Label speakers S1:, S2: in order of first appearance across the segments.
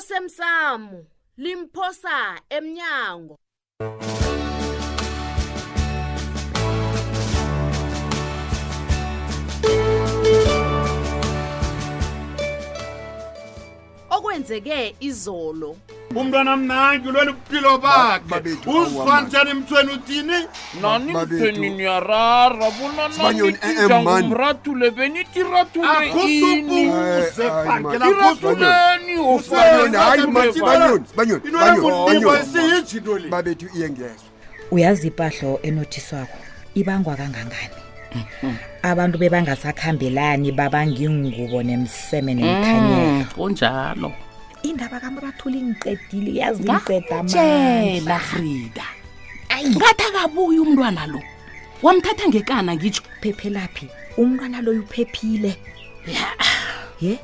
S1: osemsamo limphosa emnyango okwenzeke izolo
S2: umntwana mnangi ulwela ubuphilo bakhe
S3: babethu,
S2: uzwa
S3: awa,
S2: njani mthweni uthini
S4: nani
S3: Babethu.
S4: mtheni niyarara
S3: Sibanyoni, eh, eh, man.
S4: vonananitijangumratule
S5: Ah,
S4: benitiratule ini
S2: akusubuze
S3: Ay, ay,
S2: bhange
S3: man.
S4: iratuleni
S3: Sibanyoni, hayi, Mathi, Sibanyoni, Sibanyoni, Sibanyoni.
S2: inolekulimba siyijinto le
S3: babethu iyengezwa
S6: uyazi ipahlo enothiswako ibangwa kangangani abantu bebangasakhambelani babangingubo nemseme nemkhanyelo
S4: Mm, kunjalo
S6: indaba kamrathula ingiqedile yazi ngiqeda amandla
S4: frida ngathi akabuyi umntwana lo wamthatha ngekana ngitsho
S6: uphephelaphi umntwana loyo uphephile ye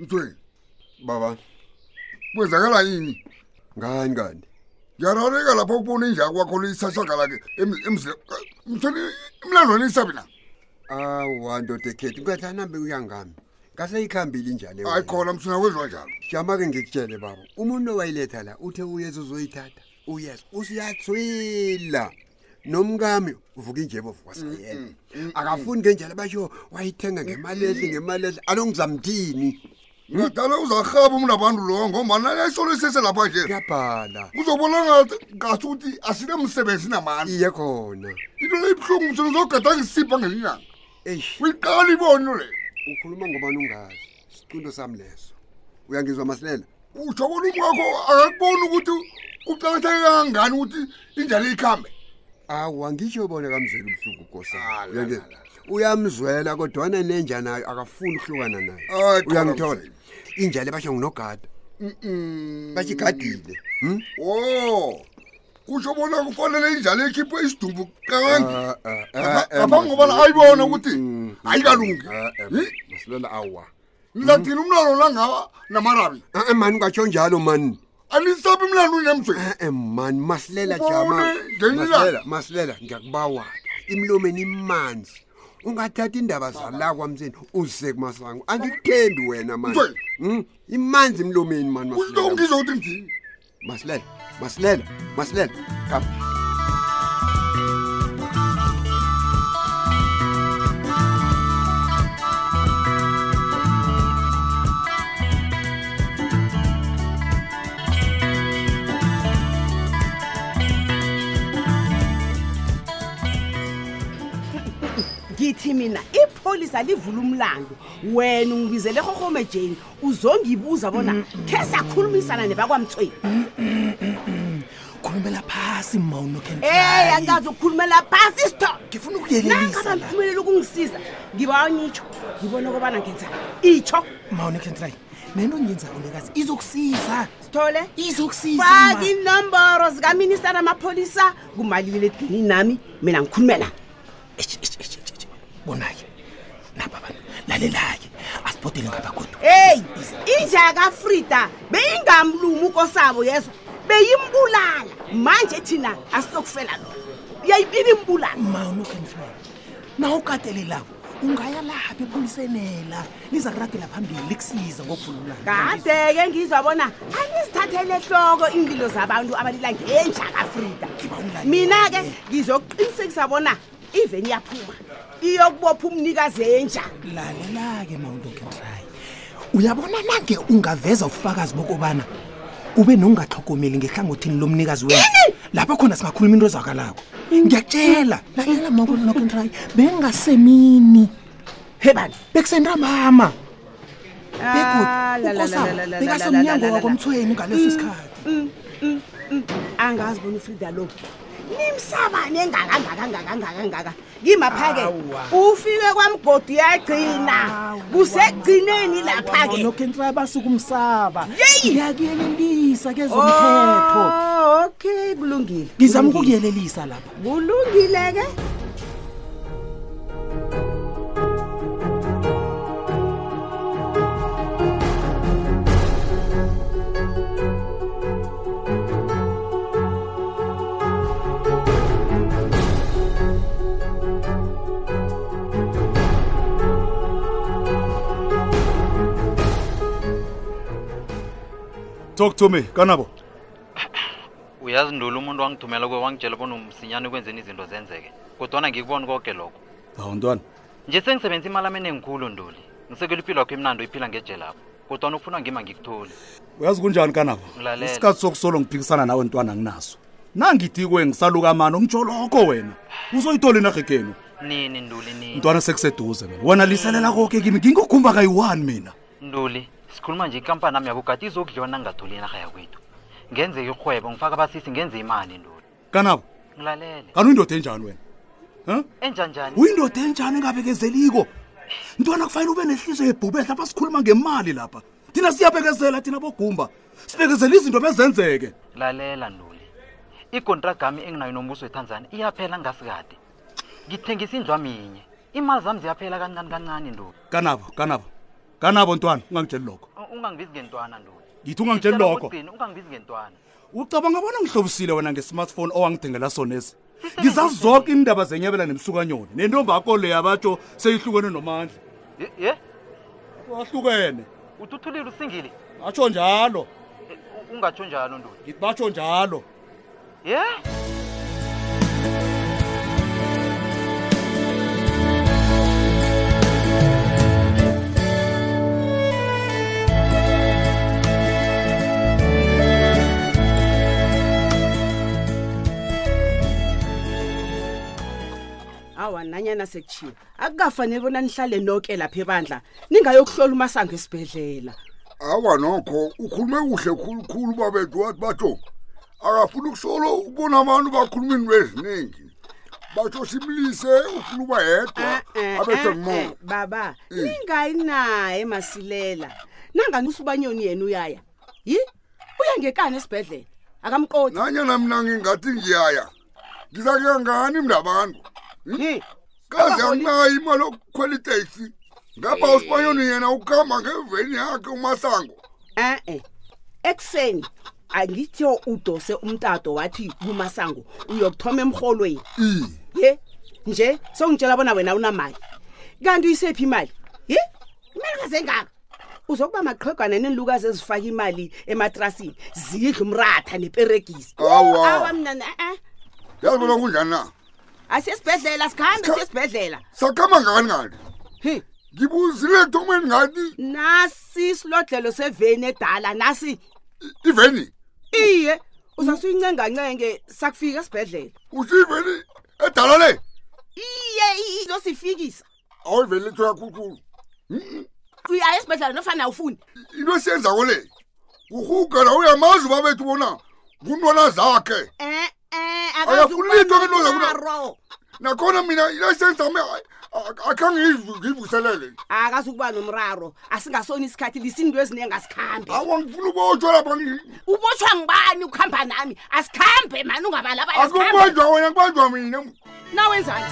S5: mthweni
S3: baba
S5: kwenzakala yini
S3: ngani kanti
S5: yarareka lapho kubona injaka kwakho lisashagalake emzile mthweni imlandweni isabi na
S3: awa ndoda ekhethu ngathanambe uyangami ngase ikhambile injani
S5: hayi khona mthweni akwenziwa njalo
S3: jama-ke ngikutshele baba umuntu owayiletha la uthe uyesu uzoyithatha uyesu usiyathwila nomkami uvuka injebo vukwasayena akafuni ngenjalo basho wayithenga ngemali ehle ngemali ehle alo ngizamthini
S5: ngadala uzarhaba umntu abantu lowo ngombana nayisolisese lapha nje
S3: kuyabhala
S5: uzobona ngathi- ngathi ukuthi asinemsebenzi namandla
S3: iye khona
S5: into le ibuhlungu mthweni uzogadanga isipha ngelinyanga
S3: eyi
S5: uyiqala iboni into leyo
S3: ukhuluma ngobani ungazi sicundo sami leso uyangizwa masilela
S5: utsho bona umngakho akakuboni ukuthi kuqakatheke kangangani ukuthi injalo ikhambe
S3: awu angisho bona kamzwela ubuhlungu
S5: Ah, la,
S3: ukosana
S5: la, la.
S3: uyamzwela kodwana nenja nayo akafuni ukuhlukana nayo
S5: Ay, cha,
S3: uyangithola
S5: Mzweli.
S3: injalo basho nginogada basho igadile hm?
S5: o kutsho bona kufanele injalo ekhiphe isidumbu kangange
S3: Ah, ah, ah,
S5: Ngapha-
S3: eh,
S5: ngaphambi ngobana
S3: Mzweli.
S5: ayibone ukuthi
S3: Mm, mm,
S5: ayikalungi
S3: ah, eh,
S5: Hi?
S3: masilela awa
S5: nizathina umlalo langaba namarabi
S3: Ah, eh, mani ungatsho njalo mani
S5: anisabi mlalo unemzweni
S3: e-e mani masilela
S5: Ubone
S3: jama
S5: ngenye
S3: Masilela,
S5: ilanga.
S3: masilela ngiyakubawa imlomeni imanzi ungathathi indaba zala kwamseni uzise kumasango angikuthembi wena mani
S5: Mzweli.
S3: Mm, imanzi emlomeni mani
S5: usito
S3: masilela
S5: ngizo ukuthi ngithini
S3: masilela masilela masilela Kap-
S7: ngithi mina ipholisa livula umlando wena ungibizele erhorhome jane uzongibuza bona khe sakhulumisana nebakwamthweni
S8: khulumela phasi ma
S7: ey angazi ukukhulumela phasi
S8: Ngifuna
S7: nangaba ngiphumelele ukungisiza ngibawanyitsho ngibona kobana ngenza itsho
S8: maunokentlayi nento onyenzayo lekazi izokusiza
S7: sithole
S8: izokusiza
S7: faka inomboro zikaministara amapholisa kumalileledinini nami mina ngikhulumela
S8: bonake napa bantu lalela-ke asibhodele ngabagodo
S7: heyi injaka frida beyingamlumi ukosabo yezo beyimbulala manje thina asizokufela lona uyayibini imbulala
S8: maunokentlayi na ukatelelako ungaya lapha epholisenela liza kuragela phambili likusiza ngokukhululana
S7: kade-ke ngizwa bona anizithathele ehloko iimpilo zabantu abalila ngenjaka frida
S8: Ngibawulalela.
S7: mina-ke ngizokuqinisekisa bona iveni iyaphuma iyokubopha umnikazi enja
S8: lalela-ke maunokentlayi uyabona nange ungaveza ubufakazi bokobana ube nongatlhogomeli ngehlangothini lomnikazi wena lapho khona singakhuluma into ezwakalako ngiyakutshela lalela maunokentlayi bengasemini hebani bekusentambama
S7: Ah, la, la, la, la, la, la, la,
S8: bekasemnyango
S7: la, Mm. la, la.
S8: wakomthweni ngaleso sikhathi
S7: angazi bona ufrida lo nimsabane engakangakangakangakangaka ngimapha-ke ufike kwamgodi uyagcina kusekugcineni lapha-ke
S8: nokentlayi basukumsaba
S7: Yeyi!
S8: ngiyakuyelelisa ke zomthetho
S7: Oh, okay kulungile
S8: ngizama
S7: kulungile.
S8: ukukuyelelisa lapha
S7: kulungile-ke
S8: talk to me kanabo
S9: uyazi ndula umuntu wangithumela kuye wangitshela bona umsinyane ekwenzeni izinto zenzeke kodwana ngikuboni konke lokho
S8: hawu ntwana
S9: nje sengisebenza imali amene ngikhulu nduli ngisekela impilo yakho emnando iphila ngejelapho kodwana ukufuna ngima ngikutholi
S8: uyazi kunjani kanabo
S9: Lalela.
S8: isikhathi sokusolo ngiphikisana nawe ntwana nginaso nangidikwe ngisaluka mani umtsho lokho wena uzoyithola inarhekenu
S9: nini nduli nini
S8: mntwana sekuseduze mina wena lisalela koke kimi ngingogumba kayi-one mina
S9: nduli sikhuluma nje ikampani nami yakugade izokudliwa nangingatholi inarha yakwethu ngenze irhwebo ngifake abasisi ngenze imali nduli
S8: kanabo
S9: ngilalele
S8: kani uyindoda enjani wena Huh?
S9: enjanjani
S8: uyindoda enjani engabekezeliko ntwana kufanele ube nehliziyo yebhubehla lapha sikhuluma ngemali lapha thina siyabekezela thina bogumba sibekezela izinto bezenzeke
S9: lalela nduli ikontragami enginayo nombuso wetanzania iyaphela ngasikade ngithengisa indlwa minye imali zami ziyaphela kancani kancani nduli
S8: kanabo kanabo kanabo ntwana ungangitsheli lokho
S9: U- ungangibizi ngentwana nduli
S8: ngithi ungangitsheli
S9: Ngicela
S8: lokho
S9: ukugcina, ungangibizi ngentwana
S8: ucabanga bona ngihlobisile wena nge-smartphone owangithengela sonesi ngizazi zonke iindaba zenyabela nemsukanyoni nentombakho leya batsho seyihlukene nomandla
S9: ye, ye?
S8: ahlukene
S9: uthuthulile usingile
S8: atsho njalo
S9: E, u- ungatsho njalo nduli
S8: ngithi batsho njalo
S9: ye
S7: awa nanyana sekuthiwa akukafanele bona nihlale noke lapha ebandla ningayokuhlola umasango esibhedlela
S5: awa nokho ukhulume kuhle khulukhulu babethu wathi batho akafuni ukusolo ubona abantu bakhuluma into eziningi batho simlise ufuna uba yedwa
S3: Ah,
S7: Eh,
S5: abethwe
S7: eh, eh,
S5: ngumoya
S7: baba
S5: Mm.
S7: ningayi naye masilela nangani usubanyoni yena uyaya yi uyangekani esibhedlela akamkoti
S5: nanyana mina ngingathi ngiyaya ngizakuya ngani mna abantu
S7: Hi,
S5: kaze
S7: Abaholi-
S5: anginayo imali yokukhwela iteksi ngapha usibanyoni yena ukuhamba ngeveni yakhe umasango
S7: eh-eh ekuseni angitho udose umtato wathi kumasango uyokuthoma emrholweni
S5: i
S7: ye nje songitshela bona wena unamali kanti uyisephi imali ye imali kazengaka uzokuba maqhegwana nenilukazi ezifaka imali ematrasini zidla umratha neperegisi
S5: Awa.
S7: mna e-e
S5: yazi bona kunjani na
S7: asiyesibhedlela sikhambe
S5: Sikha-
S7: siyesibhedlela
S5: sakhamba ngani ngani
S7: hi
S5: ngibuzile ethomeni ngathi
S7: nasi silodlelo seveni edala nasi
S5: iveni
S7: iye uzasuyincengancenge sakufika esibhedlela
S5: usiveni edala le
S7: iye izosifikisa
S5: awuyiveli letho yakhulukhulu
S7: uyaya esibhedlela nofana awufuni
S5: into esiyenzako le urhuga la uyamazi uba bethu bona nguntwana zakhe
S7: e-e
S5: Ayafuni into ke nto zakuna- nakhona mina into esiyenzami akhange ngiyivu- ngiyivuselele
S7: akazukuba nomraro asingasoni isikhathi lisinto ezinengasikhambe
S5: awa ngifuna ubotshwa lapha ngi-
S7: ubotshwa ngibani ukuhamba nami asikhambe mani ungabalabala
S5: asikubanjwa wena kubanjwa mina
S7: nawenzani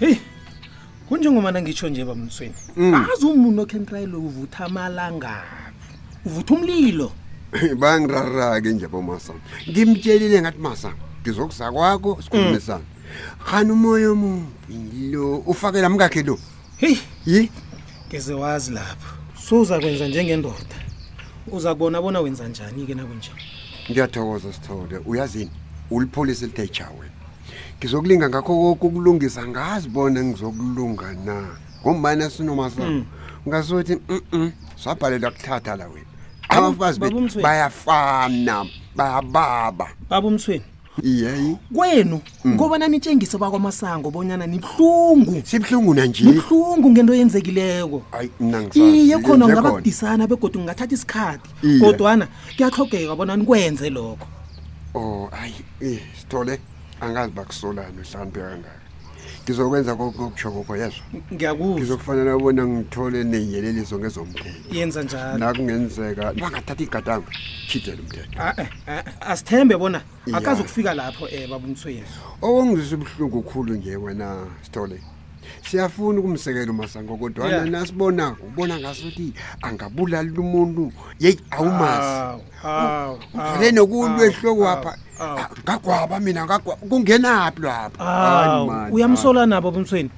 S6: heyi kunjengomana ngitsho nje bamnisweni azi umuntu okhentrayelo uvutha amalangaphi uvutha umlilo
S3: bangirarake nje bomasango ngimtshelile ngathi masango ngizokuza kwakho sikhulumisane khani umoya omumbi lo ufakela mkakhe lo
S6: heyi
S3: yi
S6: ngeze wazi lapho souza kwenza njengendoda uza kubona bona wenza njani-ke nakunje
S3: ngiyathokoza sithole uyazini ulipholisa elithe jawe ngizokulinga ngakho konke ukulungisa ngazi bona ngizokulunga na ngombana sinomasango ungasothi mm sabhalela kuthatha la wena abafazi
S6: Baba
S3: bethu
S6: uMthweni.
S3: bayafana bayababa
S6: baba umsweni
S3: iyeyi
S6: kwenu
S3: Hmm.
S6: ngobana nitshengise bakwamasango bonyana nibuhlungu
S3: sibuhlungu nanje
S6: nibuhlungu ngento yenzekileko
S3: hayi mna
S6: iye khona
S3: nje
S6: ungaba
S3: khona.
S6: kudisana begodwa ngingathatha isikhathi
S3: Iye.
S6: kodwana kuyaxhogeka bona nikwenze lokho
S3: Oh ayi eh sithole angazi bakusolana mhlawumbe kangaka. Ngizokwenza kokutsho kokho yezwa.
S6: ngiyakuzwa
S3: Ngizokufanele ubona ngithole neyeleliso ngezomthetho.
S6: yenza njalo
S3: La kungenzeka bangathatha igadango chidela umthetho.
S6: Ah-eh, ah-eh, eh, asithembe bona
S3: Iya.
S6: akazukufika lapho um babumsweni
S3: Owongizisa ubuhlungu kukhulu nje wena sithole. siyafuna ukumsekela umasango kodwana
S6: Yeah.
S3: nasibonako ubona ngasuthi angabulali lumuntu yeyi awumazi
S6: awu
S3: uvele nokuntu ehloko
S6: awu,
S3: apha
S6: awu.
S3: Ah, ngagwaba mina ngagwaba kungenaphi lwapha Hayi,
S6: awu
S3: man,
S6: uyamsola nabo bumthweni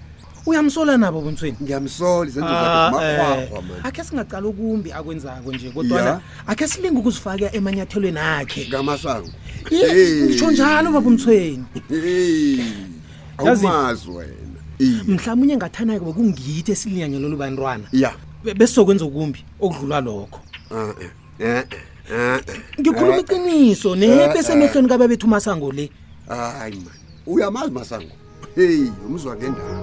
S6: uyamsola nabo bumthweni
S3: hayi. ngiyamsola izenzo zakhe zimakrwakrwa
S6: um
S3: mani
S6: akhe singacala okumbi akwenzako nje
S3: Yeah.
S6: kodwana akhe silinge ukuzifaka emanyathelweni akhe
S3: ngamasango
S6: Ye,
S3: Hey.
S6: ngisho njalo baba umthweni
S3: Hey,
S6: Yazi-
S3: awumazi wena Iye.
S6: mhlawumbe unye ngathana-ke bekungithi esilinyanye lolu bantwana
S3: ya
S6: Be- besizokwenza okumbi okudlula lokho
S3: Ah, eh, eh, eh, eh.
S6: ngikhuluma iqiniso
S3: Eh, eh.
S6: nebesemehlweni kababethu umasango le
S3: hayi mani uyamazi masango heyi umzwa ngendaba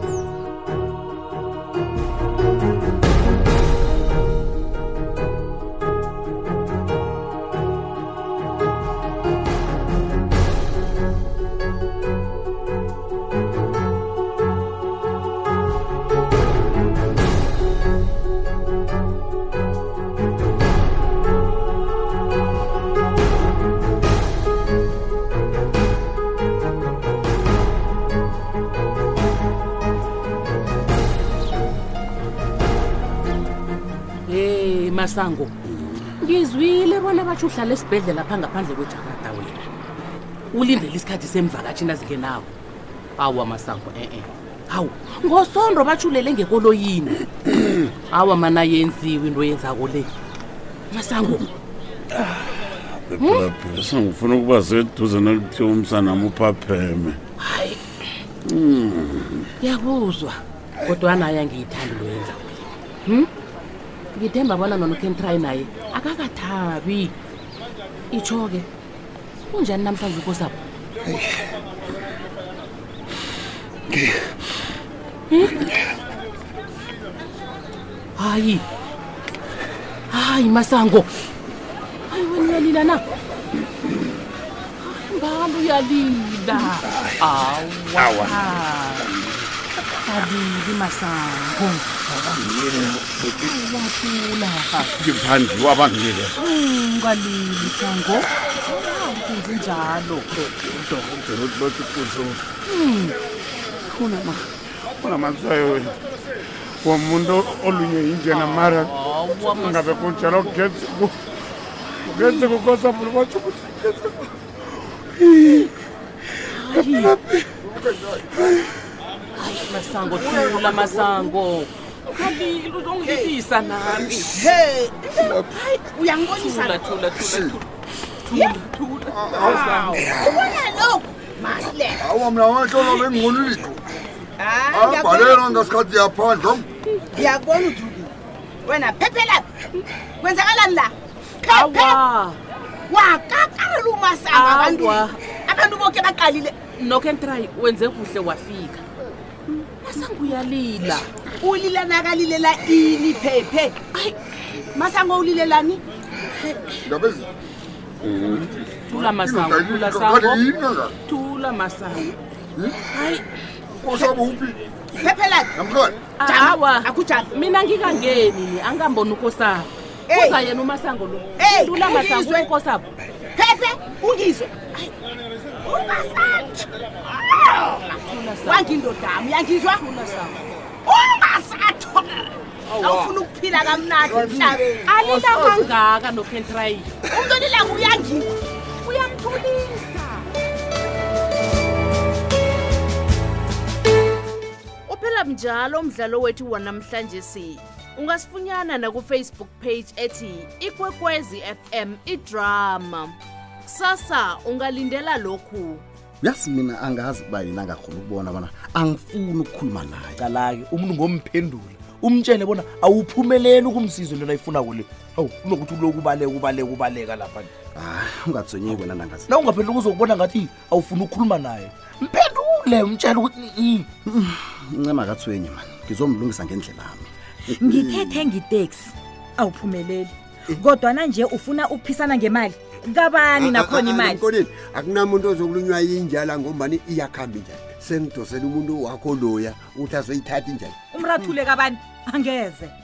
S4: hey Eh, masango ngizwile bona batsho uhlala esibhedlela pha ngaphandle kwejakarta wena ulindele isikhathi semvakatshi nazike nawo awa masango e-e hawu ngosondo batshulele ngekoloyini awa mana yenziwe into yenzako le masango
S10: sengifuna ukuba seduze naluthiwa umsanami uphapheme
S4: ngiyakuzwa kodwana aya ngiyithandi into yenzako le hmm? ngithemba bona nona ukhentry naye akakathabi itsho-ke unjani namhlanje ukosapho hayi hayi masango hayi wena uyalila na Hayi, mbala uyalila awa kabili masango wathula
S10: ngiphandliwa abangile
S4: ungalili sango kunje njalo khona ma
S10: unamatswayo wena womuntu olunywe yinjena mara ngabe kunjalo kugenzeku kugenzeku kosapula batsho ukuthi
S4: masango thula masango kabili uzongilisa nami
S7: he uyangibonisa
S4: thula thula thula
S7: ubona lokhu mahle
S5: awa mna wanhlolo bengingonulitho
S7: Hayi,
S5: abhalela
S7: ngiyakubona.
S5: ngasikhathi yaphandla
S7: ngiyakubona uduki wena phephela kwenzakalani la Phephela.
S4: awa
S7: wakakala umasanga abantu
S4: Awa.
S7: abantu bonke baqalile
S4: nokentry wenze kuhle wafika masango uyalila
S7: ulilanakalilela ini phephe Ayi, masango ulilelani
S5: ndabezi
S4: thula masango thula sango
S5: yini kangaka
S4: thula masango hayi
S5: kosabo uphi
S7: phephelani
S5: namhlanje
S4: awa
S7: akujani
S4: mina ngikangeni ni angamboni ukosapho
S7: Hey.
S4: uza yena umasango lo
S7: Hey,
S4: thula masango
S7: ngizwe.
S4: ukosapho
S7: phephe ungizwe Ayi, ungasathi Ah, wangindodami uyangizwa ungasathi awufuna ukuphila kamnandi emhlabeni
S4: alila kangaka nokentry
S7: umntu onilanga uyangizwa uyamthulisa
S1: uphela mnjalo umdlalo wethu wanamhlanje si ungasifunyana nakufacebook page ethi ikwekwezi fm idrama kusasa ungalindela lokhu
S11: yazi mina angazi uba yini angakhona ukubona bona angifuni ukukhuluma naye
S12: cala-ke umuntu ngomphendula umtshele bona awuphumeleli ukumsiza into ayifunako le awu unokuthi uloku ubaleka ubaleka ubaleka lapha nje.
S11: hayi ungatsonyeyi wena nangazi
S12: na ungaphendula uzokubona ngathi awufuna ukukhuluma naye mphendule umtshele ukuthi i
S11: incema kathwenye mani ngizomlungisa ngendlelami
S13: ngithethe ngiteksi awuphumeleli kodwana nje ufuna ukuphisana ngemali kabani nakhona imali
S3: emkoneni akunamuntu ozokulunywa yinjala ngombani iyakhambi njani sengidosela umuntu wakho loya ukuthi azoyithatha injani
S13: umrathule kabani angeze